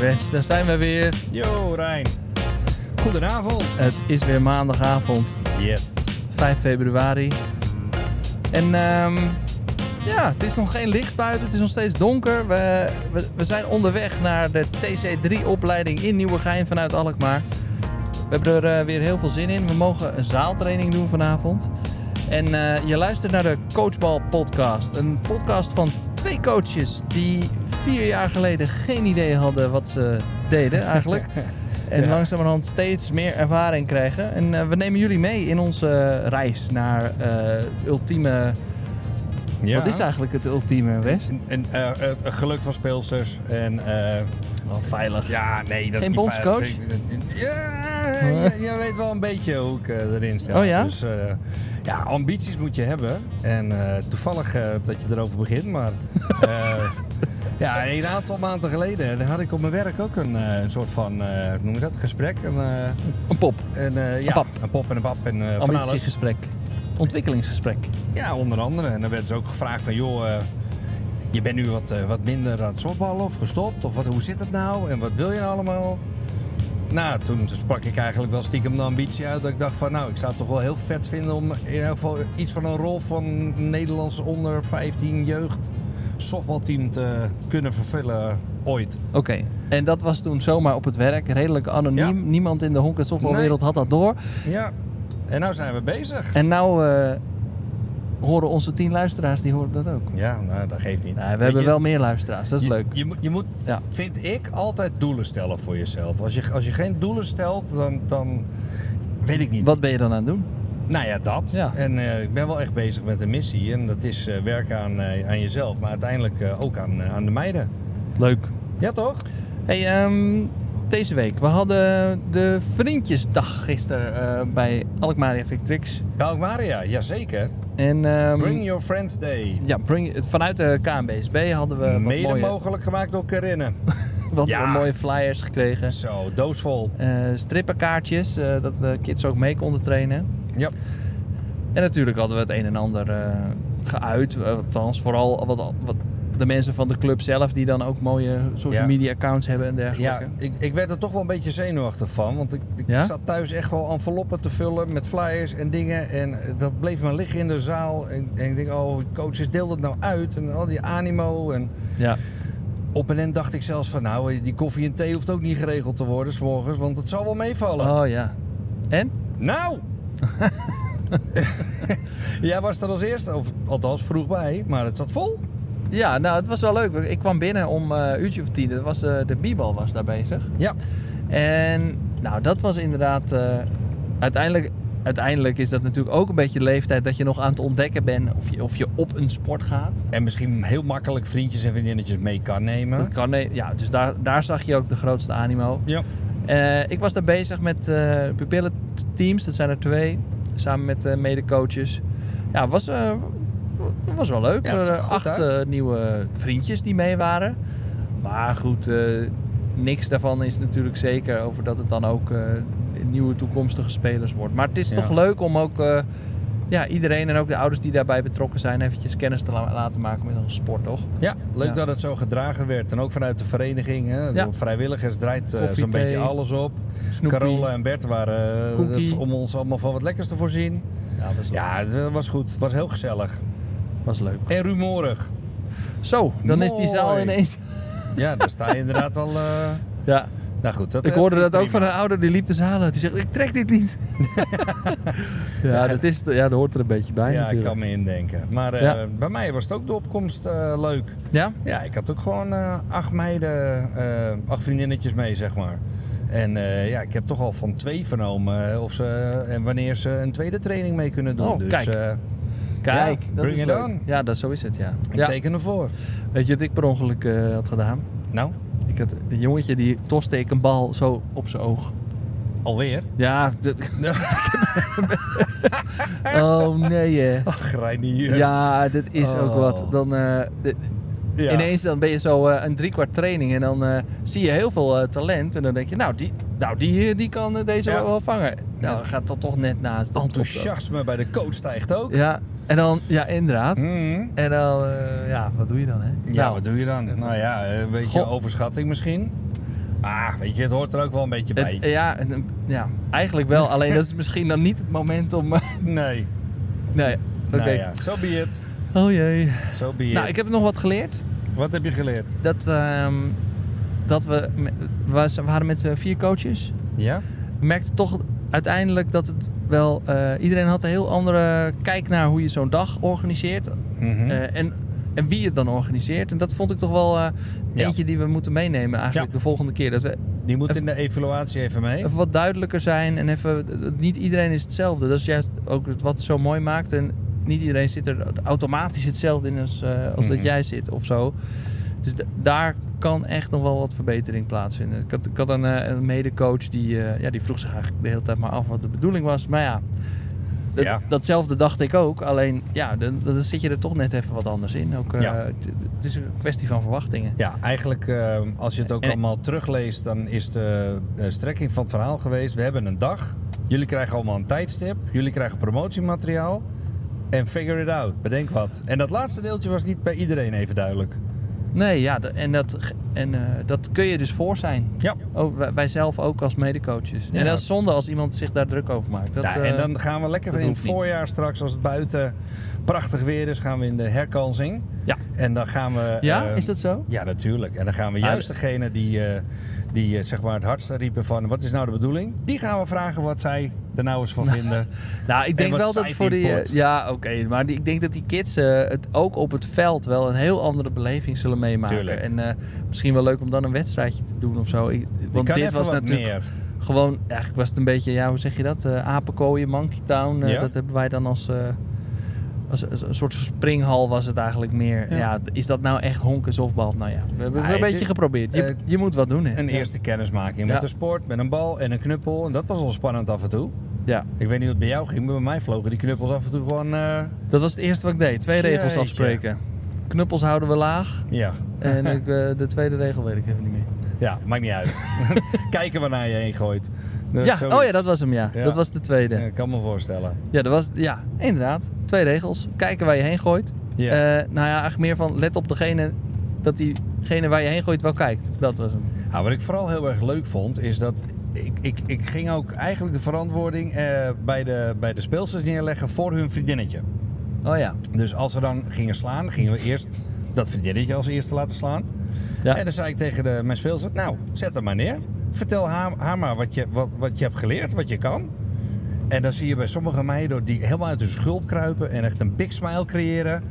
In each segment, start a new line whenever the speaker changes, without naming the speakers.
West, daar zijn we weer.
Yo, Rijn. Goedenavond.
Het is weer maandagavond,
Yes.
5 februari. En ehm, ja, het is nog geen licht buiten, het is nog steeds donker. We, we, we zijn onderweg naar de TC3-opleiding in Nieuwegein vanuit Alkmaar. We hebben er eh, weer heel veel zin in. We mogen een zaaltraining doen vanavond. En eh, je luistert naar de Coachbal Podcast. Een podcast van twee coaches die vier jaar geleden geen idee hadden wat ze deden eigenlijk. En
Ja.
langzamerhand steeds meer ervaring krijgen. En eh, we nemen jullie mee in onze eh, reis naar eh ultieme.
Ja.
Wat is eigenlijk het ultieme, Wes?
En, en, eh, het geluk van speelsters. En eh,
Wel veilig.
ja, nee, dat
Geen
is niet
bondscoach?
veilig. Ja, je, je weet wel een beetje hoe ik eh, erin sta.
Oh ja?
Dus eh, ja, ambities moet je hebben. En eh, toevallig eh, dat je erover begint, maar... eh, ja, een aantal maanden geleden daar had ik op mijn werk ook een, eh, een soort van, eh, hoe noem je dat, gesprek. Een, eh,
Een pop.
een, eh, ja,
pap.
een pop en een pap en eh, van alles.
Ambitiegesprek. Ontwikkelingsgesprek.
Ja, onder andere. En dan werd ze ook gevraagd van, joh, eh, je bent nu wat, eh, wat minder aan het softballen of gestopt. Of wat, hoe zit het nou? En wat wil je nou allemaal? Nou, toen sprak ik eigenlijk wel stiekem de ambitie uit. Dat ik dacht van, nou, ik zou het toch wel heel vet vinden om in elk geval iets van een rol van Nederlands onder 15 jeugd softbalteam te kunnen vervullen ooit.
Oké, en dat was toen zomaar op het werk, redelijk anoniem. Niemand in de honk- en softballwereld had dat door.
Ja. En nou zijn we bezig.
En nou eh, horen onze tien luisteraars, die horen dat ook.
Ja, nou, dat geeft niet.
Nou, we
Weet
hebben
je-
wel meer luisteraars, dat is
je,
leuk.
Je, moet- je moet,
Ja.
vind ik, altijd doelen stellen voor jezelf. Als je, als je geen doelen stelt, dan, dan weet ik niet.
Wat ben je dan aan het doen?
Nou ja, dat.
Ja.
En eh, ik ben wel echt bezig met een missie. En dat is eh, werken aan, eh, aan jezelf, maar uiteindelijk eh, ook aan, eh, aan de meiden.
Leuk.
Ja, toch?
Hey, ehm, deze week, we hadden de Vriendjesdag gisteren eh, bij Alkmaar en Victrix.
Kalkmaria, jazeker.
En ehm,
Bring your friends day.
ja, bring, het- vanuit de KNBSB hadden we Eh, wat
Mede
mooie,
mogelijk gemaakt door Karinne.
wat
Ja.
wat mooie flyers gekregen.
Zo, doosvol.
Eh, strippenkaartjes, eh, dat de kids ook mee konden trainen.
Ja.
En natuurlijk hadden we het een en ander eh, geuit. Eh, althans, vooral wat, wat de mensen van de club zelf die dan ook mooie social
Ja.
media accounts hebben en
Ja,
dergelijke.
ik, ik werd er toch wel een beetje zenuwachtig van. Want ik, ik
Ja?
zat thuis echt wel enveloppen te vullen met flyers en dingen. En eh, dat bleef maar liggen in de zaal. En, en ik denk, oh, coaches, deel dat nou uit. En al die animo. En
Ja.
op en end dacht ik zelfs van, nou, eh, die koffie en thee hoeft ook niet geregeld te worden 's morgens Want het zal wel meevallen.
Oh ja. En?
Nou! Jij was er als eerste, of althans vroeg bij, maar het zat vol.
Ja, nou het was wel leuk. Ik kwam binnen om eh, een uurtje of tien. Dat was, eh, de b-bal was daar bezig.
Ja,
En nou, dat was inderdaad. eh, uiteindelijk, uiteindelijk is dat natuurlijk ook een beetje de leeftijd dat je nog aan het ontdekken bent. Of je, of je op een sport gaat.
en misschien heel makkelijk vriendjes en vriendinnetjes mee kan nemen.
Dat kan, nee, ja, dus daar, daar zag je ook de grootste animo.
Ja.
Eh, ik was daar bezig met eh pupillenteams, dat zijn er twee, samen met eh medecoaches. Ja, het was, eh, het was wel leuk.
Ja, het zag
Eh,
goed
acht
uit.
eh, nieuwe vriendjes die mee waren. Maar goed, eh, niks daarvan is natuurlijk zeker over dat het dan ook eh, nieuwe toekomstige spelers wordt. Maar het is
Ja.
toch leuk om ook eh, ja, iedereen en ook de ouders die daarbij betrokken zijn... eventjes kennis te la- laten maken met onze sport, toch?
Ja, leuk
Ja.
dat het zo gedragen werd. En ook vanuit de vereniging. Hè.
Ja.
De vrijwilligers draait eh,
Koffie,
zo'n
thee,
beetje alles op.
Snoepie.
Carola en Bert waren eh,
Cookie.
om ons allemaal van wat lekkers te voorzien.
Ja, dat was,
Ja, het eh, was goed. Het was heel gezellig.
was leuk.
En rumoerig.
Zo, dan is die zaal
Mooi.
ineens...
Ja, daar sta je inderdaad wel... eh,
Ja,
Nou goed, dat,
ik hoorde dat ook van
prima.
een ouder die liep de zaal uit. Die zegt, ik trek dit niet. ja, dat, is, ja, dat hoort er een beetje bij
Ja, ik
natuurlijk.
kan me indenken. Maar eh,
Ja.
bij mij was het ook de opkomst eh, leuk.
Ja?
Ja, ik had ook gewoon eh, acht meiden, eh, acht vriendinnetjes mee, zeg maar. En eh, ja, ik heb toch al van twee vernomen eh, of ze, en wanneer ze een tweede training mee kunnen doen.
Oh,
dus
kijk.
eh,
Kijk,
Ja,
dat
bring
is
it
leuk.
on.
Ja, dat, zo is het, ja.
ik
ja.
teken ervoor.
Weet je wat ik per ongeluk eh, had gedaan?
Nou,
Ik had een jongetje die toste ik een bal zo op zijn oog.
alweer.
Ja, dat- oh nee hè.
Ach, Reinier.
Ja, dit is ook
Oh.
wat. Dan, eh, dit-
Ja.
Ineens dan ben je zo eh, een driekwart training en dan eh, zie je heel veel eh, talent. En dan denk je, nou die, nou, die, eh, die kan eh, deze
Ja.
wel, wel vangen. Nou, dan gaat dat toch net naast. Dat
Enthousiasme bij de coach stijgt ook.
klopt ook. Ja, en dan, ja, inderdaad.
Mm.
En dan, eh, ja, wat doe je dan, hè?
Ja,
Nou,
wat doe je dan? Nou ja, een beetje
Goh.
overschatting misschien. Ah, weet je, het hoort er ook wel een beetje bij.
Het- ja, het- ja, eigenlijk wel. Alleen dat is misschien dan niet het moment om... eh,
Nee.
nee, oké.
Nou ja, zo be it.
Oh jee.
Zo be
Nou,
it.
ik heb nog wat geleerd.
Wat heb je geleerd?
Dat, ehm, dat we, me- we z- we waren met eh, vier coaches.
Ja?
We merkten toch uiteindelijk dat het wel... eh, iedereen had een heel andere kijk naar hoe je zo'n dag organiseert.
Mhm.
Eh, en, en wie het dan organiseert. En dat vond ik toch wel eh,
Ja.
eentje die we moeten meenemen eigenlijk
Ja.
de volgende keer. Dat we
Die moet
eff-
in de evaluatie even mee.
even wat duidelijker zijn en even... Niet iedereen is hetzelfde. Dat is juist ook het- wat het zo mooi maakt. En niet iedereen zit er automatisch hetzelfde in als, eh, als dat
Mhm.
jij zit of zo. Dus da- daar kan echt nog wel wat verbetering plaatsvinden. Ik had, ik had een, eh, een medecoach die, eh, ja, die vroeg zich eigenlijk de hele tijd maar af wat de bedoeling was. Maar ja, dat-
Ja.
datzelfde dacht ik ook. Alleen ja, dan, dan zit je er toch net even wat anders in. Ook, eh,
Ja.
het, het is een kwestie van verwachtingen.
Ja, eigenlijk eh, als je het ook
En-
allemaal terugleest, dan is de eh, strekking van het verhaal geweest. We hebben een dag. Jullie krijgen allemaal een tijdstip. Jullie krijgen promotiemateriaal. En figure it out. Bedenk wat. En dat laatste deeltje was niet bij iedereen even duidelijk.
Nee, ja, d- en, dat, ge- en eh, dat kun je dus voor zijn.
Ja.
Ook, wij, wij zelf ook als medecoaches.
Ja.
En dat is zonde als iemand zich daar druk over maakt. Dat,
Ja,
eh,
en dan gaan we lekker
dat
in het
hoeft niet.
voorjaar straks, als het buiten prachtig weer is, gaan we in de herkansing.
Ja.
En dan gaan we...
ja,
eh,
is dat zo?
Ja, natuurlijk. En dan gaan we
Maar-
juist degene die, eh, die eh, zeg maar het hardst riepen van wat is nou de bedoeling? Die gaan we vragen wat zij er nou eens van vinden.
Nou, ik denk
wat
wel dat
site
voor die... eh,
input.
ja, oké. maar die, ik denk dat die kids eh, het ook op het veld wel een heel andere beleving zullen meemaken.
Tuurlijk.
En eh, misschien wel leuk om dan een wedstrijdje te doen of zo. Ik-
Die
want
kan
dit
even
was
wat
natuurlijk
meer.
gewoon... Eigenlijk was het een beetje, ja, hoe zeg je dat? Eh Apenkooien, Monkey Town. eh,
Ja.
Dat hebben wij dan als... eh, als als een soort springhal was het eigenlijk meer.
Ja.
Ja. is dat nou echt honken softbal? Nou ja, we hebben het
Nee,
een beetje
dit-
geprobeerd. Je,
eh,
je moet wat doen, hè?
Een
Ja.
eerste kennismaking met
Ja.
de sport, met een bal en een knuppel. En dat was al spannend af en toe.
Ja,
Ik weet niet hoe het bij jou ging, maar bij mij vlogen die knuppels af en toe gewoon... eh,
dat was het eerste wat ik deed. Twee regels
Jeetje.
afspreken. Knuppels houden we laag.
ja.
En ik, eh, de tweede regel weet ik even niet meer.
ja, maakt niet uit. Kijken waarnaar je heen gooit. Dat-
ja,
zoiets.
oh ja, dat was hem, ja.
Ja.
Dat was de tweede.
Ja,
Ja,
ik kan me voorstellen.
dat was, ja inderdaad. Twee regels. Kijken waar je heen gooit.
Ja.
Eh, nou ja, eigenlijk meer van let op degene dat diegene waar je heen gooit wel kijkt. Dat was hem.
Ja, Nou, wat ik vooral heel erg leuk vond, is dat ik, ik, ik ging ook eigenlijk de verantwoording eh, bij, de, bij de speelsters neerleggen voor hun vriendinnetje.
Oh ja.
Dus als ze dan gingen slaan, gingen we eerst dat vriendinnetje als eerste laten slaan.
Ja.
En dan zei ik tegen de, mijn speelster, nou, zet hem maar neer. Vertel haar, haar maar wat je, wat, wat je hebt geleerd, wat je kan. En dan zie je bij sommige meiden die helemaal uit hun schulp kruipen en echt een big smile creëren.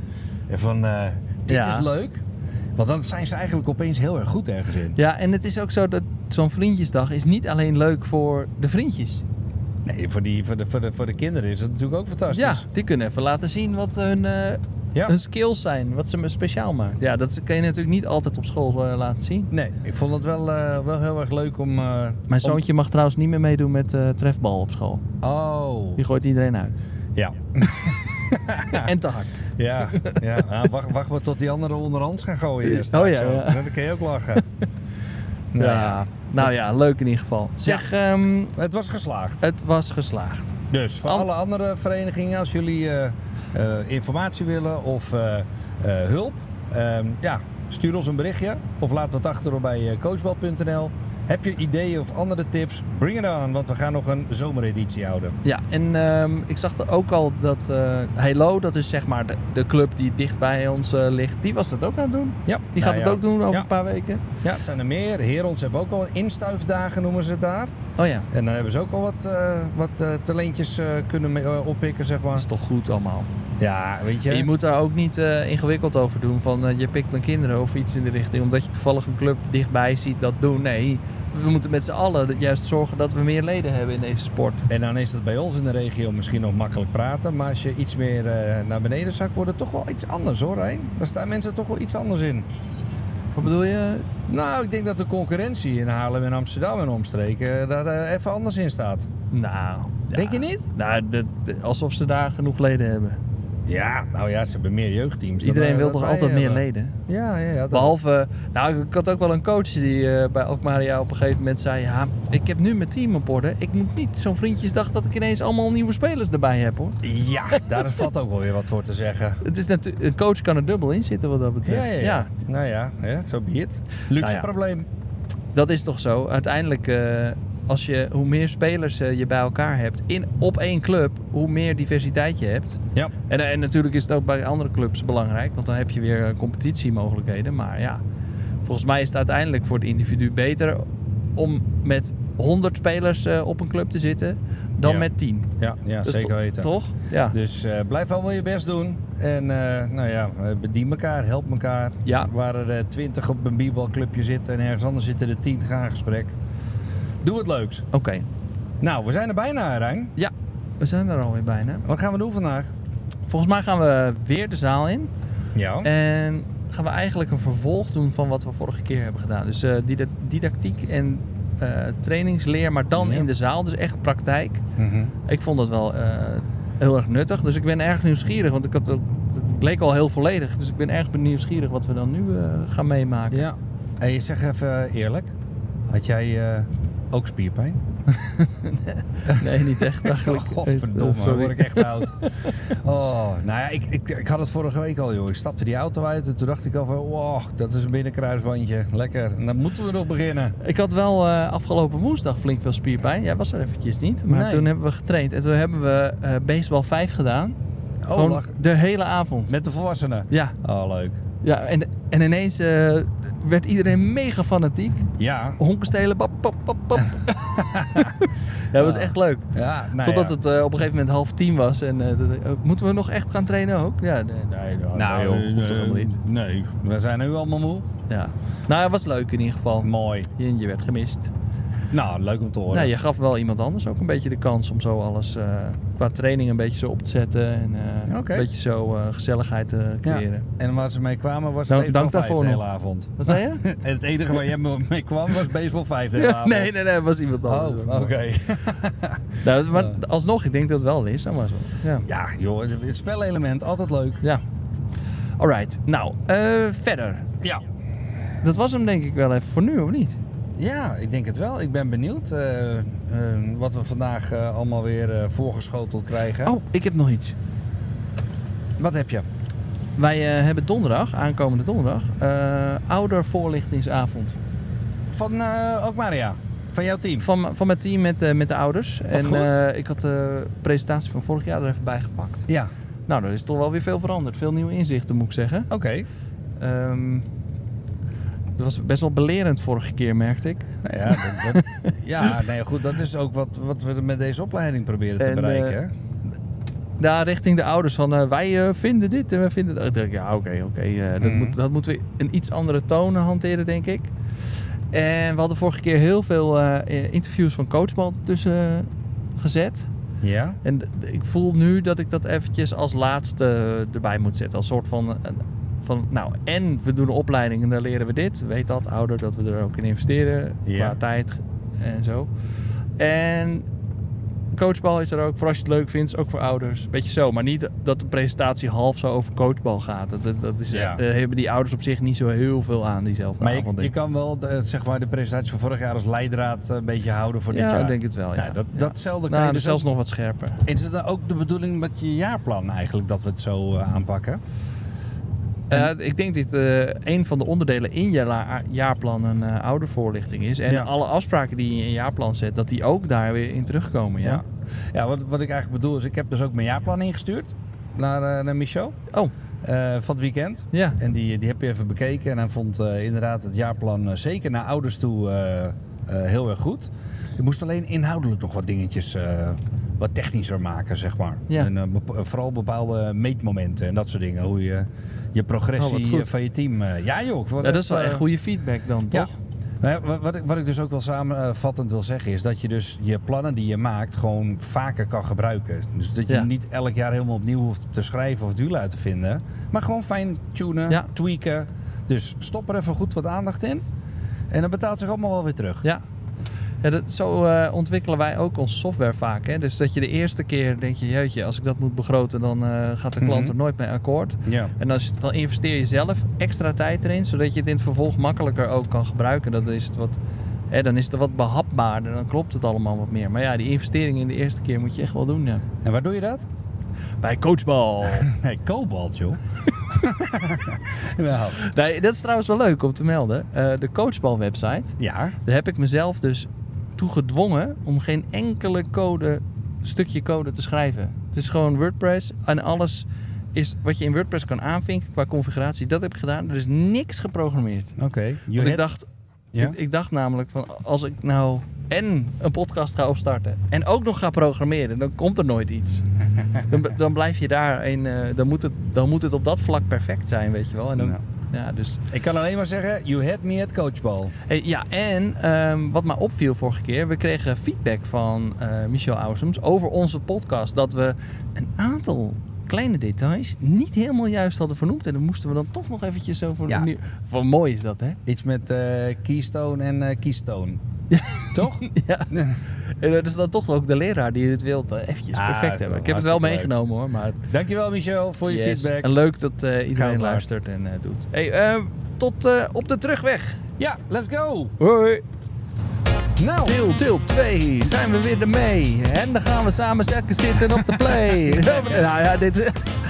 En van, eh, dit
Ja.
is leuk. Want dan zijn ze eigenlijk opeens heel erg goed ergens in.
ja, en het is ook zo dat zo'n vriendjesdag is niet alleen leuk voor de vriendjes.
Nee, voor, die, voor, de, voor, de, voor de kinderen is het natuurlijk ook
Ja,
fantastisch.
die kunnen even laten zien wat hun, eh,
Ja.
hun skills zijn. Wat ze speciaal maakt. Ja, dat kan je natuurlijk niet altijd op school eh, laten zien.
Nee, ik vond het wel, eh, wel heel erg leuk om... eh, om-
Mijn zoontje mag trouwens niet meer meedoen met eh, trefbal op school.
Oh.
Die gooit iedereen uit.
Ja.
En te hard.
Ja. ja. Nou, wacht, wacht maar tot die anderen onderhands gaan gooien eerst.
Oh ja,
Zo,
ja.
Dan kun je ook lachen. Nou
ja. Nou ja, leuk in ieder geval. Zeg, ehm,
Het was geslaagd.
het was geslaagd.
Dus voor
Ant-
alle andere verenigingen, als jullie eh, eh, informatie willen of eh, eh, hulp, ehm, ja, stuur ons een berichtje of laat wat achter op bij eh, coachbal.nl. Heb je ideeën of andere tips? Bring it on, want we gaan nog een zomereditie houden.
Ja, en ehm, ik zag er ook al dat eh Hello, dat is zeg maar de, de club die dicht bij ons eh, ligt, die was dat ook aan het doen.
Ja,
Die gaat
Nou
het
ja.
ook doen over
Ja.
een paar weken.
Ja, het zijn er meer. Herons hebben ook al instuifdagen, noemen ze het daar.
Oh ja,
En dan hebben ze ook al wat, eh, wat eh, talentjes eh, kunnen mee- eh, oppikken, zeg
dat
maar.
is toch goed allemaal.
Ja, weet je.
En je moet daar ook niet eh, ingewikkeld over doen van eh, je pikt mijn kinderen of iets in de richting, omdat je toevallig een club dichtbij ziet dat doen. Nee, we moeten met z'n allen juist zorgen dat we meer leden hebben in deze sport.
En dan is dat bij ons in de regio misschien nog makkelijk praten. Maar als je iets meer eh, naar beneden zakt, wordt het toch wel iets anders hoor, Rijn. Daar staan mensen toch wel iets anders in.
Wat bedoel je?
Nou, ik denk dat de concurrentie in Haarlem en Amsterdam en omstreken eh, daar eh, even anders in staat.
Nou, ja.
Denk je niet?
Nou, dat- dat- alsof ze daar genoeg leden hebben.
Ja, nou ja, ze hebben meer jeugdteams. dan,
Iedereen
eh,
wil
dat
toch
wij
altijd meer
hebben.
leden?
Ja, ja, ja. dat-
Behalve, nou, ik had ook wel een coach die eh, bij Alkmaria op een gegeven moment zei... Ja, ik heb nu mijn team op orde. Ik moet niet zo'n vriendjesdag dat ik ineens allemaal nieuwe spelers erbij heb, hoor.
Ja, daar valt ook wel weer wat voor te zeggen.
Het is natu- een coach kan er dubbel in zitten wat dat
Ja,
betreft.
ja, ja. Nou ja, zo so be it. Luxe
Nou ja.
probleem.
dat is toch zo. Uiteindelijk, eh, als je, hoe meer spelers eh, je bij elkaar hebt in, op één club, hoe meer diversiteit je hebt.
Ja.
En, en natuurlijk is het ook bij andere clubs belangrijk, want dan heb je weer eh, competitiemogelijkheden. Maar ja, volgens mij is het uiteindelijk voor het individu beter om met 100 spelers eh, op een club te zitten dan
Ja.
met 10.
Ja, ja
Dus
zeker
to-
weten.
Toch? Ja.
Dus eh, blijf allemaal je best doen. En eh, nou ja, eh, bedien elkaar, help elkaar.
Ja.
Waar er eh, twintig op een bierbalclubje zitten en ergens anders zitten er tien, ga in gesprek. Doe het leuks.
Oké.
Nou, we zijn er bijna, Rijn.
Ja, we zijn er alweer bijna.
Wat gaan we doen vandaag?
Volgens mij gaan we weer de zaal in.
Ja.
En gaan we eigenlijk een vervolg doen van wat we vorige keer hebben gedaan. Dus eh, dida- didactiek en eh, trainingsleer, maar dan
Ja.
in de zaal. Dus echt praktijk. Ik vond dat wel eh, heel erg nuttig. Dus ik ben erg nieuwsgierig, want ik had ook, het leek al heel volledig. Dus ik ben erg nieuwsgierig wat we dan nu eh, gaan meemaken.
Ja. Hey, zeg even eerlijk. Had jij eh, ook spierpijn?
Nee, niet echt eigenlijk.
Godverdomme,
eh, Sorry.
word ik echt oud. Oh, nou ja, ik, ik, ik had het vorige week al, joh. Ik stapte die auto uit en toen dacht ik al van... Wow, dat is een binnenkruisbandje. Lekker. En dan moeten we nog beginnen.
Ik had wel eh, afgelopen woensdag flink veel spierpijn. Jij was er eventjes niet. Maar
Nee.
toen hebben we getraind. En toen hebben we eh baseball 5 gedaan.
Oh,
Gewoon
lach.
de hele avond.
Met de volwassenen.
Ja,
Oh, leuk.
ja en, en ineens eh, werd iedereen mega fanatiek.
Ja.
Honken stelen, pap, pap, pap, pap. ja, dat was echt leuk.
ja nou
Totdat
ja.
het eh, op een gegeven moment half tien was. En eh, dat ik ook, moeten we nog echt gaan trainen ook? Ja, nee, nee, nee,
Nou,
joh,
eh,
hoeft toch helemaal niet.
Nee, we zijn nu allemaal moe.
Ja. Nou, het was leuk in ieder geval.
Mooi.
Je, je werd gemist.
Nou, leuk om te horen.
Nou, je gaf wel iemand anders ook een beetje de kans om zo alles eh, qua training een beetje zo op te zetten. En eh,
Oké.
een beetje zo eh, gezelligheid te
Ja. Nou,
creëren.
En waar ze mee kwamen was
Dank-
baseball
dank
5
daarvoor
de
nog.
hele avond.
Wat zei je?
En het enige waar jij mee kwam was baseball 5 de hele
Ja,
avond.
nee, nee, nee, het was iemand
Oh,
anders.
oké.
Nou, maar alsnog, ik denk dat het wel is. Dat was wel. Ja.
Ja, joh, het spelelement, altijd leuk.
ja. Alright, nou, eh, verder.
Ja.
Dat was hem denk ik wel even voor nu, of niet?
Ja, ik denk het wel. Ik ben benieuwd eh, eh, wat we vandaag eh, allemaal weer eh, voorgeschoteld krijgen.
Oh, ik heb nog iets.
Wat heb je?
Wij eh, hebben donderdag, aankomende donderdag, eh oudervoorlichtingsavond.
Van eh, ook Maria, van jouw team.
Van, m- van mijn team met, eh, met de ouders. en
goed.
eh, ik had de presentatie van vorig jaar er even bij gepakt.
Ja,
Nou, er is toch wel weer veel veranderd. Veel nieuwe inzichten, moet ik zeggen.
oké.
Ehm, dat was best wel belerend vorige keer, merkte ik.
Nou ja, dat, dat- ja nee, goed, dat is ook wat, wat we met deze opleiding proberen te
En,
bereiken.
eh,
hè?
Daar richting de ouders van eh, wij eh, vinden dit en we vinden dat. Ik dacht, ja, oké, oké. eh, dat,
Mhm.
moet, dat moeten we een iets andere toon hanteren, denk ik. En we hadden vorige keer heel veel eh, interviews van Coachbal tussen eh, gezet.
ja?
En d- d- ik voel nu dat ik dat eventjes als laatste erbij moet zetten. Als soort van, eh, van nou, en we doen een opleiding en dan leren we dit. Weet dat, ouder, dat we er ook in investeren.
Ja.
Qua tijd en zo. En coachbal is er ook, voor als je het leuk vindt, ook voor ouders. Weet je zo, maar niet dat de presentatie half zo over coachbal gaat. Dat, dat- dat is, eh,
Ja.
Daar hebben die ouders op zich niet zo heel veel aan, diezelfde
Maar
avond.
je, je
denk ik.
kan wel de, zeg maar, de presentatie van vorig jaar als leidraad eh, een beetje houden voor
ja,
dit jaar.
ik denk het wel, ja.
Nou, dat,
Ja.
Datzelfde kan
Nou,
je
dus
dus
zelfs
ook-
nog wat scherper.
Is het dan ook de bedoeling met je jaarplan eigenlijk dat we het zo eh, aanpakken?
Eh, ik denk dat eh, een van de onderdelen in je la- jaarplan een eh oudervoorlichting is. En
Ja.
alle afspraken die je in je jaarplan zet, dat die ook daar weer in terugkomen. Ja?
Ja, ja wat, wat ik eigenlijk bedoel is, ik heb dus ook mijn jaarplan ingestuurd naar, eh, naar Michel
Oh,
eh, van het weekend.
ja.
En die, die heb je even bekeken en hij vond eh, inderdaad het jaarplan eh, zeker naar ouders toe eh, eh, heel erg goed. Ik moest alleen inhoudelijk nog wat dingetjes eh, wat technischer maken, zeg maar.
Ja.
En eh, bepa- eh, vooral bepaalde meetmomenten en dat soort dingen. Hoe je je
Oh, wat
progressie
goed.
eh, van je team... eh, ja joh, ik vond
Nou, dat is wel
eh,
echt goede feedback dan,
Ja.
toch?
Nou ja, wa- wat, ik, wat ik dus ook wel samenvattend wil zeggen is dat je dus je plannen die je maakt gewoon vaker kan gebruiken. Dus dat je
Ja.
niet elk jaar helemaal opnieuw hoeft te schrijven of het wiel uit te vinden. Maar gewoon fijn tunen,
Ja.
tweaken. Dus stop er even goed wat aandacht in. En dat betaalt zich allemaal wel weer terug.
Ja. Ja, dat, zo eh, ontwikkelen wij ook ons software vaak. Hè? Dus dat je de eerste keer denk je, jeetje, als ik dat moet begroten, dan eh, gaat de klant
Mhm.
er nooit mee akkoord.
Ja.
En dan, is- dan investeer je zelf extra tijd erin, zodat je het in het vervolg makkelijker ook kan gebruiken. Dat is het wat, hè, dan is het wat behapbaarder, dan klopt het allemaal wat meer. Maar ja, die investering in de eerste keer moet je echt wel doen. Ja.
En waar doe je dat?
Bij coachbal.
Nee, kobalt joh. Nou,
Nee, dat is trouwens wel leuk om te melden. Eh, de coachbalwebsite,
ja.
daar heb ik mezelf dus toe gedwongen om geen enkele code, stukje code te schrijven. Het is gewoon WordPress en alles is wat je in WordPress kan aanvinken qua configuratie. Dat heb ik gedaan. Er is niks geprogrammeerd.
Oké.
Want ik
hebt-
dacht,
Ja?
ik, ik dacht namelijk van als ik nou en een podcast ga opstarten en ook nog ga programmeren, dan komt er nooit iets. dan, b- dan blijf je daar en eh, dan, moet het, dan moet het op dat vlak perfect zijn, weet je wel. En dan,
Nou.
ja, dus
Ik kan alleen maar zeggen, you had me at coachball.
Hey, ja, en ehm, wat mij opviel vorige keer, we kregen feedback van eh, Michel Ausems over onze podcast. Dat we een aantal kleine details niet helemaal juist hadden vernoemd. En dan moesten we dan toch nog eventjes zo voor
Ja.
opnieuw- Wat mooi is dat, hè?
Iets met eh, Keystone en eh, Keystone. Toch?
Ja. En dat is dan toch ook de leraar die het wilt eh, eventjes
Ja,
perfect hebben. Ik heb het wel
hartstikke leuk.
meegenomen hoor, maar...
Dankjewel Michel voor je
Yes.
feedback.
En leuk dat eh,
Goud
iedereen
waard.
luistert en eh, doet. Hey, ehm, tot eh, op de terugweg.
Ja, let's go!
Hoi.
Nou,
Deel, deel 2, zijn we weer ermee. En dan gaan we samen zetten zitten op de play. nou ja, dit,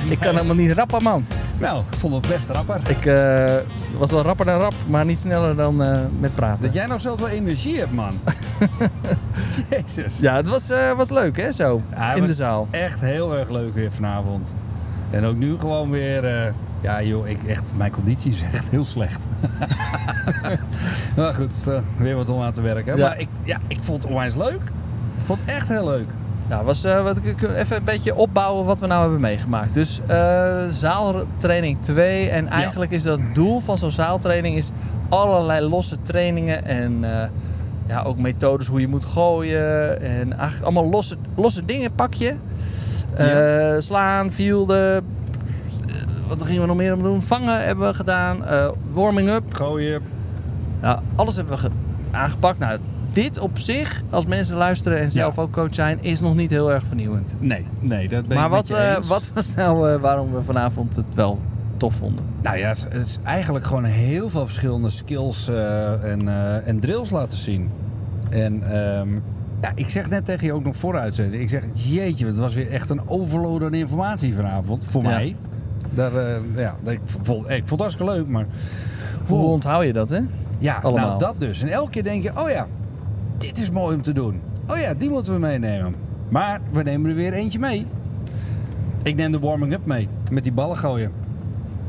ik kan helemaal niet rappen, man.
nou ik vond het best rapper.
Ik eh, was wel rapper dan rap, maar niet sneller dan eh, met praten.
Dat jij nog zoveel energie hebt, man. Jezus.
Ja, het was, eh, was leuk, hè, zo,
Ja, hij
in
was
de zaal.
Echt heel erg leuk weer vanavond. En ook nu gewoon weer... eh, ja joh, ik, echt, mijn conditie is echt heel slecht. maar goed, eh, weer wat om aan te werken.
Ja.
Maar ik, ja, ik vond het onwijs leuk. Ik vond het echt heel leuk.
Ja, was, eh, wat, ik- ik- even een beetje opbouwen wat we nou hebben meegemaakt. Dus eh, zaaltraining 2. En eigenlijk is dat het doel van zo'n zaaltraining is allerlei losse trainingen. En eh, ja, ook methodes hoe je moet gooien. En eigenlijk allemaal losse, losse dingen pak je. Eh, Slaan, fielden. eh, Wat gingen we nog meer om doen? Vangen hebben we gedaan. eh, warming up.
Gooien.
Ja, alles hebben we ge- aangepakt. Nou, dit op zich, als mensen luisteren en zelf ook coach zijn, is nog niet heel erg vernieuwend.
Nee, nee, dat ben
maar
ik met
wat,
je
eh,
eens.
wat was nou eh, waarom we vanavond het wel tof vonden?
Nou ja, het is- het is eigenlijk gewoon heel veel verschillende skills eh, en, eh, en drills laten zien. En ehm, ja, ik zeg net tegen je ook nog vooruit, ik zeg, jeetje, het was weer echt een overload aan informatie vanavond, voor
Ja.
mij. Daar, eh, ja, dat- ik, vond, ik vond het hartstikke leuk, maar...
Hoe
Wow.
onthoud je dat, hè?
Ja,
Allemaal.
nou dat dus. En elke keer denk je, oh ja, dit is mooi om te doen. Oh ja, die moeten we meenemen. Maar we nemen er weer eentje mee. Ik neem de warming-up mee, met die ballen gooien.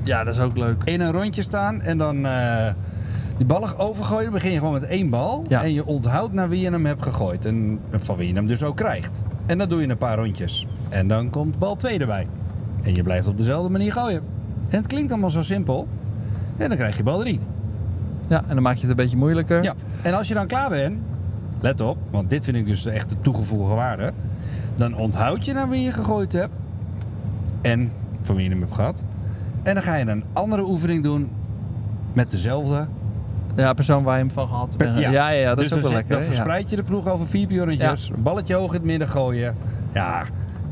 Ja, dat is ook leuk.
in een rondje staan en dan eh, die ballen overgooien. Dan begin je gewoon met één bal.
Ja.
En je onthoudt naar wie je hem hebt gegooid. En van wie je hem dus ook krijgt. En dat doe je een paar rondjes. En dan komt bal 2 erbij. En je blijft op dezelfde manier gooien. En het klinkt allemaal zo simpel. En dan krijg je bal 3.
Ja, en dan maak je het een beetje moeilijker.
Ja. En als je dan klaar bent, let op, want dit vind ik dus echt de toegevoegde waarde. Dan onthoud je naar wie je gegooid hebt en van wie je hem hebt gehad. En dan ga je een andere oefening doen met dezelfde.
Ja, persoon waar je hem van gehad hebt. Ja, ja, ja, dat
Dus
is ook
dan
wel
zit-
lekker.
Dan
hè? Ja.
verspreid je de ploeg over vier pionnetjes, een balletje hoog in het midden gooien. Ja,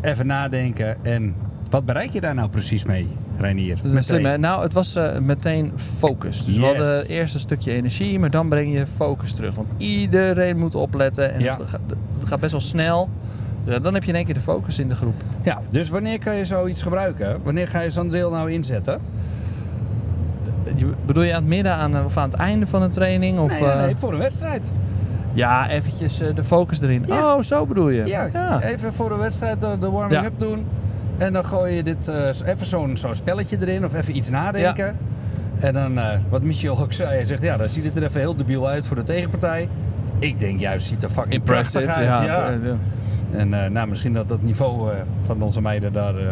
even nadenken. En wat bereik je daar nou precies mee, Reinier?
Dat is
Met
slim,
twee.
hè? Nou, het was eh, meteen focus. Dus we
Yes.
hadden eerst een stukje energie, maar dan breng je focus terug. Want iedereen moet opletten en
Ja.
het, gaat, het gaat best wel snel. Ja, dan heb je in één keer de focus in de groep.
Ja, dus wanneer kan je zoiets gebruiken? Wanneer ga je zo'n drill nou inzetten?
Je- bedoel je aan het midden aan, eh, of aan het einde van een training? Of,
nee, nee,
eh,
nee, voor een wedstrijd.
Ja, eventjes eh, de focus erin.
Ja.
Oh, zo bedoel je?
Ja, even voor de wedstrijd de, de warming
Ja.
up doen. En dan gooi je dit, eh, even zo'n zo'n spelletje erin of even iets nadenken. En dan, eh, wat Michel ook zei, hij zegt ja, dan ziet het er even heel debiel uit voor de tegenpartij. Ik denk juist, ziet er fucking
Impressive.
prachtig uit. Ja.
ja. ja.
En eh, nou, misschien dat dat niveau eh, van onze meiden daar eh,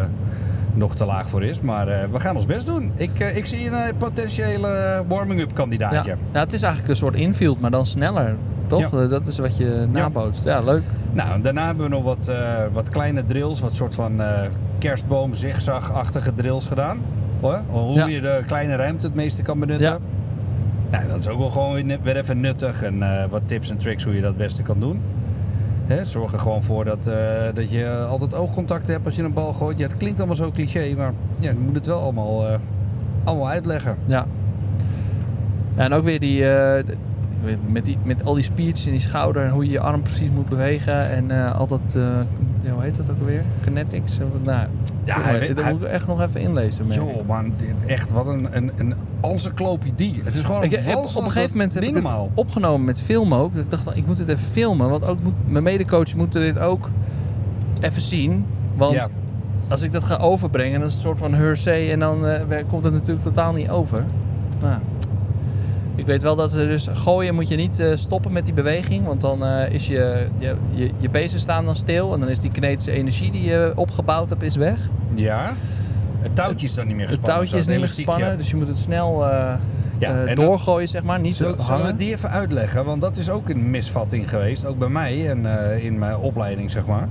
nog te laag voor is. Maar eh, we gaan ons best doen. Ik, eh, ik zie een eh, potentiële warming up
Ja.
kandidaatje.
Ja, het is eigenlijk een soort infield, maar dan sneller. Toch?
Ja.
Eh, Dat is wat je nabootst. Ja, leuk.
Nou, en daarna hebben we nog wat, eh, wat kleine drills, wat soort van eh, kerstboom zigzag-achtige drills gedaan. Hoor, hoe
Ja.
je de kleine ruimte het meeste kan benutten.
Ja.
Nou, dat is ook wel gewoon weer net- weer even nuttig en eh, wat tips en tricks hoe je dat het beste kan doen. Hè, zorg er gewoon voor dat, eh, dat je altijd oogcontact hebt als je een bal gooit. Ja, het klinkt allemaal zo cliché, maar ja, je moet het wel allemaal, eh, allemaal uitleggen.
Ja. Ja, En ook weer die, eh, d- met, die, met al die spiertjes in die schouder en hoe je je arm precies moet bewegen. En eh altijd eh, ja, hoe heet dat ook alweer? Kinetics? of- Nou,
Ja,
ja,
hij weet-
dat
hij-
moet ik echt nog even inlezen. merk ik.
Joh, man, dit echt, wat een, een, een encyclopedie. Het is gewoon
Ik
een
heb,
Oh, vals-
op een gegeven moment heb
niet
ik het
normaal.
opgenomen met filmen ook. Ik dacht, ik moet dit even filmen. Want ook moet, mijn medecoach moet dit ook even zien. Want
Ja.
als ik dat ga overbrengen, dan is het een soort van hearsay. En dan eh, wer- komt het natuurlijk totaal niet over. Nou, ik weet wel dat ze dus gooien moet je niet eh, stoppen met die beweging. Want dan eh, is je, je, je, je bezen staan dan stil. En dan is die kinetische energie die je opgebouwd hebt, is weg.
Ja. Het touwtje is dan niet meer
Het
gespannen.
touwtje is
zo,
niet
het
meer
elastiekje.
gespannen. Dus je moet het snel eh,
Ja,
eh,
en dan-
doorgooien, zeg maar. Niet
Zullen, zullen we
hangen.
die even uitleggen? Want dat is ook een misvatting geweest. Ook bij mij en eh, in mijn opleiding, zeg maar.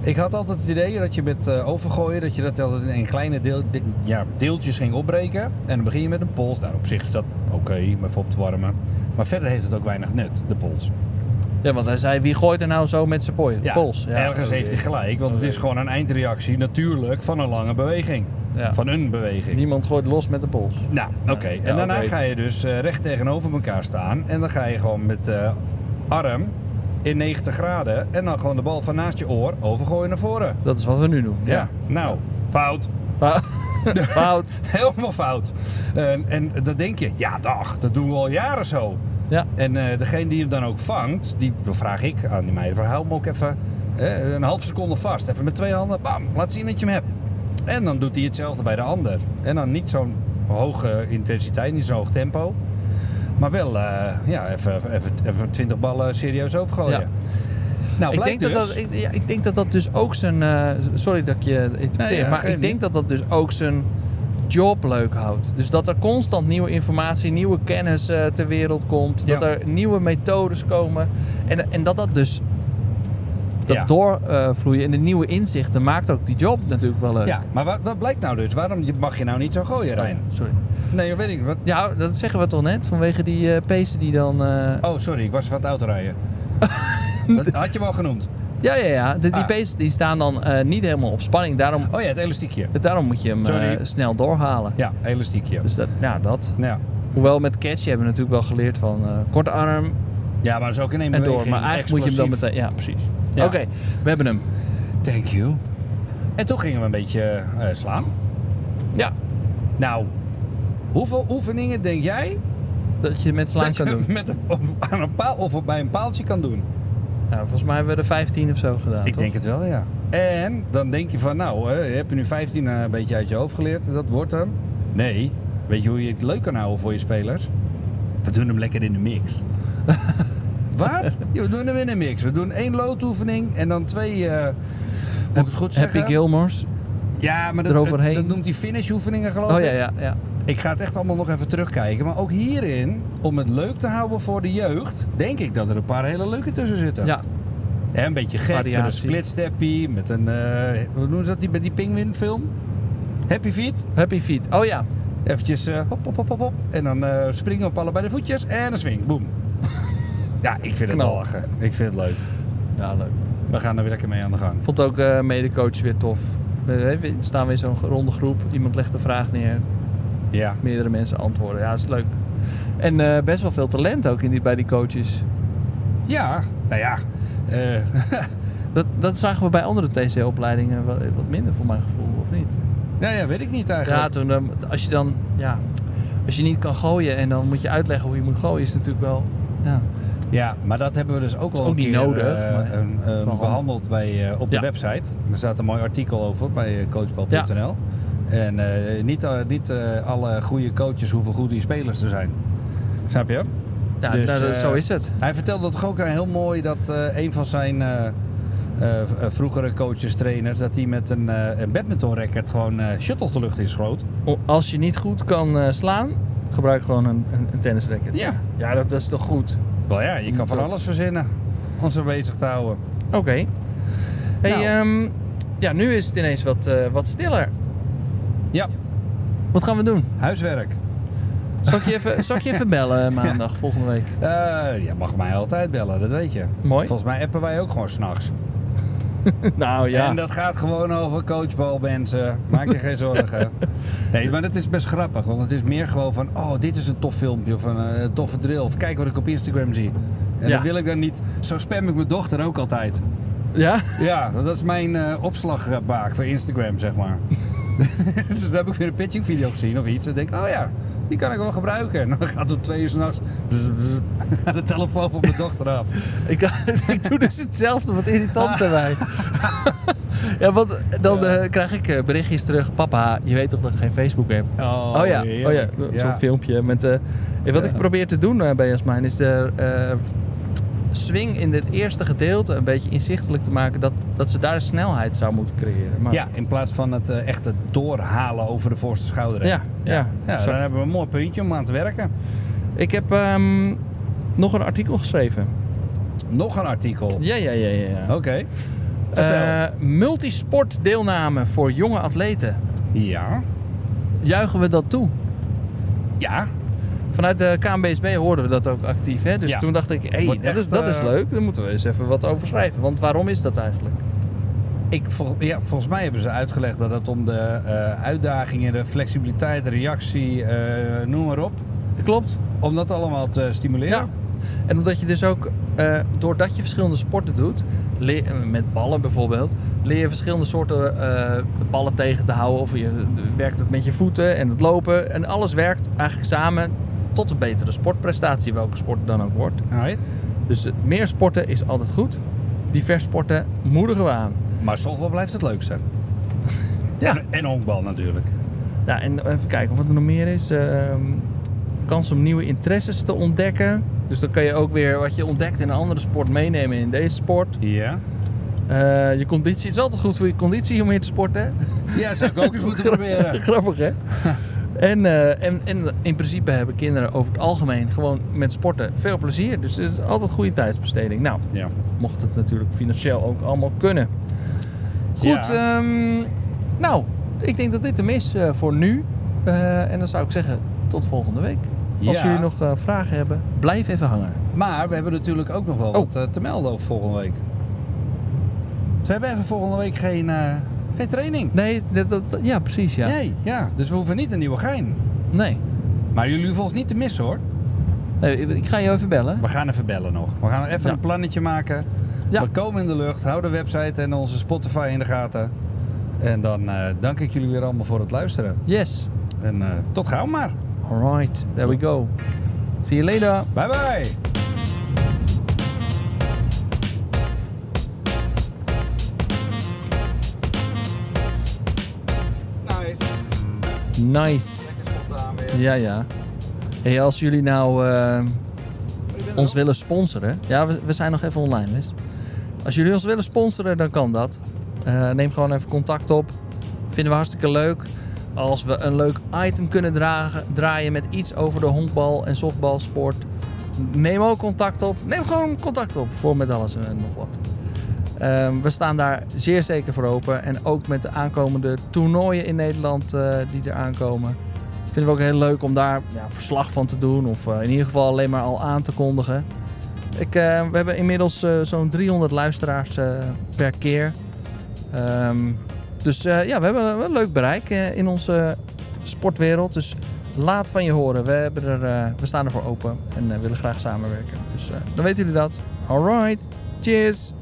Ik had altijd het idee dat je met eh, overgooien, dat je dat altijd in een kleine deel, de- ja, deeltjes ging opbreken. En dan begin je met een pols. Nou, op zich is dat oké, maar voor op te warmen. Maar verder heeft het ook weinig nut, de pols.
Ja, want hij zei, wie gooit er nou zo met zijn pooi- pols? Ja,
ergens heeft hij gelijk, want het is gewoon een eindreactie natuurlijk van een lange beweging.
Ja.
Van een beweging.
Niemand gooit los met de pols.
Nou, oké.
Ja,
en daarna
oké.
ga je dus eh, recht tegenover elkaar staan. En dan ga je gewoon met eh arm in 90 graden. En dan gewoon de bal van naast je oor overgooien naar voren.
Dat is wat we nu doen. Ah,
Ja, nou, fout.
Maar- Fout.
Helemaal fout. En, en dan denk je, ja dag, dat doen we al jaren zo.
Ja.
En eh, degene die hem dan ook vangt, die dan vraag ik aan die meiden, van, hou hem ook even eh, een half seconde vast. Even met twee handen, bam, laat zien dat je hem hebt. En dan doet hij hetzelfde bij de ander. En dan niet zo'n hoge intensiteit, niet zo'n hoog tempo. Maar wel, eh, ja, even, even, even 20 ballen serieus overgooien.
Ja.
Nou,
Ik
blijkt
denk, dat
dus-
dat, ik, ja, ik denk dat dat dus ook zijn... eh, sorry dat ik je interpreteer,
Nee, ja,
maar
geeft
ik denk
niet.
dat dat dus ook zijn job leuk houdt. Dus dat er constant nieuwe informatie, nieuwe kennis eh, ter wereld komt. Dat
Ja.
er nieuwe methodes komen. En, en dat dat dus... Dat
Ja.
doorvloeien eh, en de nieuwe inzichten maakt ook die job natuurlijk wel leuk.
Ja, maar wat, dat blijkt nou dus. Waarom je- mag je nou niet zo
Oh
gooien, Rijn?
Sorry.
Nee, dat weet ik. Wat,
Ja, dat zeggen we toch net? Vanwege die eh pezen die dan... eh,
Oh, sorry, ik was van het autorijden. dat had je wel genoemd.
Ja, ja, ja. De, die
Ah.
pezen die staan dan eh, niet helemaal op spanning. Daarom,
Oh ja, het elastiekje.
daarom moet je hem eh,
Sorry.
snel doorhalen.
Ja, elastiekje.
Dus dat, ja, dat.
Ja.
Hoewel met catch hebben we natuurlijk wel geleerd van eh, korte arm
ja, maar dat is ook in één
en
beweging.
door. Maar eigenlijk moet je hem dan
explosief.
meteen... Ja, precies.
Ja.
Oké, we hebben hem.
Thank you. En toen gingen we een beetje eh, slaan.
Ja.
Nou, hoeveel oefeningen denk jij
Dat je met slaan
dat
kan
je
doen.
met een, of aan een paal of bij een paaltje kan doen?
Nou, volgens mij hebben we er 15 of zo gedaan,
ik
toch?
denk het wel, ja. En dan denk je van, nou, eh, heb je nu 15 een beetje uit je hoofd geleerd? Dat wordt hem. Nee. Weet je hoe je het leuk kan houden voor je spelers? We doen hem lekker in de mix. Wat? Ja, we doen hem in de mix. We doen één loodoefening en dan twee... eh moet ik het goed zeggen? Oh,
Happy Gilmores.
Ja, maar dat,
eroverheen.
dat noemt hij finishoefeningen geloof
Oh
ik.
ja, ja, ja.
Ik ga het echt allemaal nog even terugkijken. Maar ook hierin, om het leuk te houden voor de jeugd, denk ik dat er een paar hele leuke tussen zitten.
Ja,
Hè, een beetje gek, met een
Variatie.
splitsteppie, met een, eh hoe noemen ze dat, die, bij die pinguïnfilm? Happy Feet.
Happy Feet. Oh ja.
Eventjes eh, hop, hop, hop, hop, hop. En dan eh, springen op allebei de voetjes en een swing. Boom. ja, ik vind het
Knal.
wel lachen. Ik vind het leuk.
Ja, leuk.
We gaan er weer lekker mee aan de gang.
Vond ook eh medecoach weer tof. We we staan weer zo'n ronde groep. Iemand legt de vraag neer.
Ja.
Meerdere mensen antwoorden. Ja, is leuk. En eh, best wel veel talent ook in die, bij die coaches.
Ja, nou ja. eh,
Dat, dat zagen we bij andere TC-opleidingen wat, eh, wat minder, voor mijn gevoel, of niet?
nou ja, weet ik niet
Ja,
eigenlijk.
toen, dan- als je dan... Ja, als je niet kan gooien en dan moet je uitleggen hoe je moet gooien, is natuurlijk wel... Ja,
Ja, maar dat hebben we dus ook
is
wel
ook
een
niet
keer,
nodig,
eh,
maar-
een- een
handig.
behandeld bij, eh, op de
Ja.
website. Er staat een mooi artikel over bij eh, coachbal.nl. En eh, niet, eh, niet eh, alle goede coaches hoeven goede spelers te zijn. Snap je?
ja
Dus,
nou, dat-
eh,
zo is het.
Hij vertelde toch ook heel mooi dat eh, een van zijn eh, eh, v- eh, vroegere coaches, trainers, dat hij met een, eh een badminton racket gewoon eh shuttles de lucht in schoot.
O- Als je niet goed kan eh, slaan, gebruik gewoon een, een, een tennisracket.
Ja.
ja dat, dat is toch goed?
Wel ja, je kan van
Zo.
alles verzinnen om ze bezig te houden.
Oké. Hey,
Nou.
ehm, ja, nu is het ineens wat, eh, wat stiller.
Ja,
Wat gaan we doen?
huiswerk.
Zal ik je even, zal ik je even bellen maandag, volgende week?
Eh, je mag mij altijd bellen, dat weet je.
Mooi.
Volgens mij appen wij ook gewoon s'nachts.
Nou
En dat gaat gewoon over coachbal, mensen. Maak je geen zorgen. Nee, maar dat is best grappig. Want het is meer gewoon van... Oh, dit is een tof filmpje of een eh, toffe drill. Of kijk wat ik op Instagram zie. En
Ja.
dat wil ik dan niet... Zo spam ik mijn dochter ook altijd.
Ja?
Ja, dat is mijn eh, opslagbaak voor Instagram, zeg maar. dus daar heb ik weer een pitching video gezien of iets. En denk ik, oh ja, die kan ik wel gebruiken. En dan gaat het om twee uur s'nachts gaat de telefoon van mijn dochter af.
Ik, ik doe dus hetzelfde, wat irritant zijn wij. ja, want dan
Ja.
eh, krijg ik eh, berichtjes terug. Papa, je weet toch dat ik geen Facebook heb? Oh, ja, oh ja.
heerlijk.
zo'n filmpje. Met, eh, wat
Ja.
ik probeer te doen eh, bij Jasmijn is de eh, swing in dit eerste gedeelte een beetje inzichtelijk te maken dat, dat ze daar snelheid zou moeten creëren. Maar,
Ja, in plaats van het eh, echte doorhalen over de voorste schouder. heen.
ja, ja,
ja
exact.
dan hebben we een mooi puntje om aan te werken.
Ik heb ehm, nog een artikel geschreven. Oh,
Nog een artikel.
Ja, ja, ja, ja. ja.
Oké. Vertel.
Eh, multisportdeelname voor jonge atleten.
ja.
Juichen we dat toe?
Ja.
Vanuit de KNBSB hoorden we dat ook actief. Hè? Dus
Ja.
toen dacht ik, hey, dat,
Wordt echt,
is, dat is
eh,
leuk. Daar moeten we eens even wat over schrijven. Want waarom is dat eigenlijk?
Ik, vol- ja, volgens mij hebben ze uitgelegd dat het om de eh, uitdagingen, de flexibiliteit, de reactie, eh, noem maar op.
Klopt.
Om dat allemaal te stimuleren.
Ja. En omdat je dus ook, eh, doordat je verschillende sporten doet, leer- eh, met ballen bijvoorbeeld, leer je verschillende soorten eh, ballen tegen te houden. Of je eh, werkt het met je voeten en het lopen. En alles werkt eigenlijk samen tot een betere sportprestatie, welke sport het dan ook wordt.
Alright.
Dus eh, meer sporten is altijd goed. Divers sporten moedigen we aan.
Maar softbal blijft het leukste.
Ja.
En, en honkbal natuurlijk.
Ja, en even kijken wat er nog meer is. Ehm, kans om nieuwe interesses te ontdekken. Dus dan kan je ook weer wat je ontdekt in een andere sport meenemen in deze sport.
Ja.
Eh, je conditie, het is altijd goed voor je conditie om hier te sporten.
Ja, zou ik ook eens moeten proberen.
Grappig, hè? En, eh, en, en in principe hebben kinderen over het algemeen gewoon met sporten veel plezier. Dus het is altijd goede tijdsbesteding. Nou,
Ja.
mocht het natuurlijk financieel ook allemaal kunnen. Goed,
Ja.
ehm, nou, ik denk dat dit hem is eh, voor nu. Eh, en dan zou ik zeggen, tot volgende week. Als
Ja.
jullie nog eh, vragen hebben, blijf even hangen.
Maar we hebben natuurlijk ook nog wel
Oh.
wat eh, te melden over volgende week. Dus we hebben even volgende week geen, eh, geen training.
Nee, dat, dat- dat- ja, precies, ja.
Nee, ja. Dus we hoeven niet een nieuwe gein.
Nee.
Maar jullie hoeven ons niet te missen hoor.
Nee, ik- ik ga je even bellen.
We gaan even bellen nog. We gaan even
Ja.
een plannetje maken.
Ja.
We komen in de lucht. Hou de website en onze Spotify in de gaten. En dan eh, dank ik jullie weer allemaal voor het luisteren.
Yes.
En eh, tot gauw maar.
Alright, there we go. See you later.
Bye bye. Nice.
Nice. Ja, ja. Hey, als jullie nou eh, ons willen sponsoren. Ja, we, we zijn nog even online, dus. Als jullie ons willen sponsoren, dan kan dat. Eh, neem gewoon even contact op. Vinden we hartstikke leuk. Als we een leuk item kunnen dragen, draaien met iets over de honkbal en softbalsport. Neem ook contact op. Neem gewoon contact op voor met alles en nog wat. Ehm, we staan daar zeer zeker voor open. En ook met de aankomende toernooien in Nederland eh, die er aankomen. Vinden we ook heel leuk om daar ja, verslag van te doen. Of eh, in ieder geval alleen maar al aan te kondigen. Ik, eh, we hebben inmiddels eh, zo'n 300 luisteraars eh, per keer. Ehm, dus eh, ja, we hebben wel een leuk bereik eh, in onze sportwereld. Dus laat van je horen. We, hebben er, eh, we staan ervoor open en eh, willen graag samenwerken. Dus eh, dan weten jullie dat. Alright, cheers!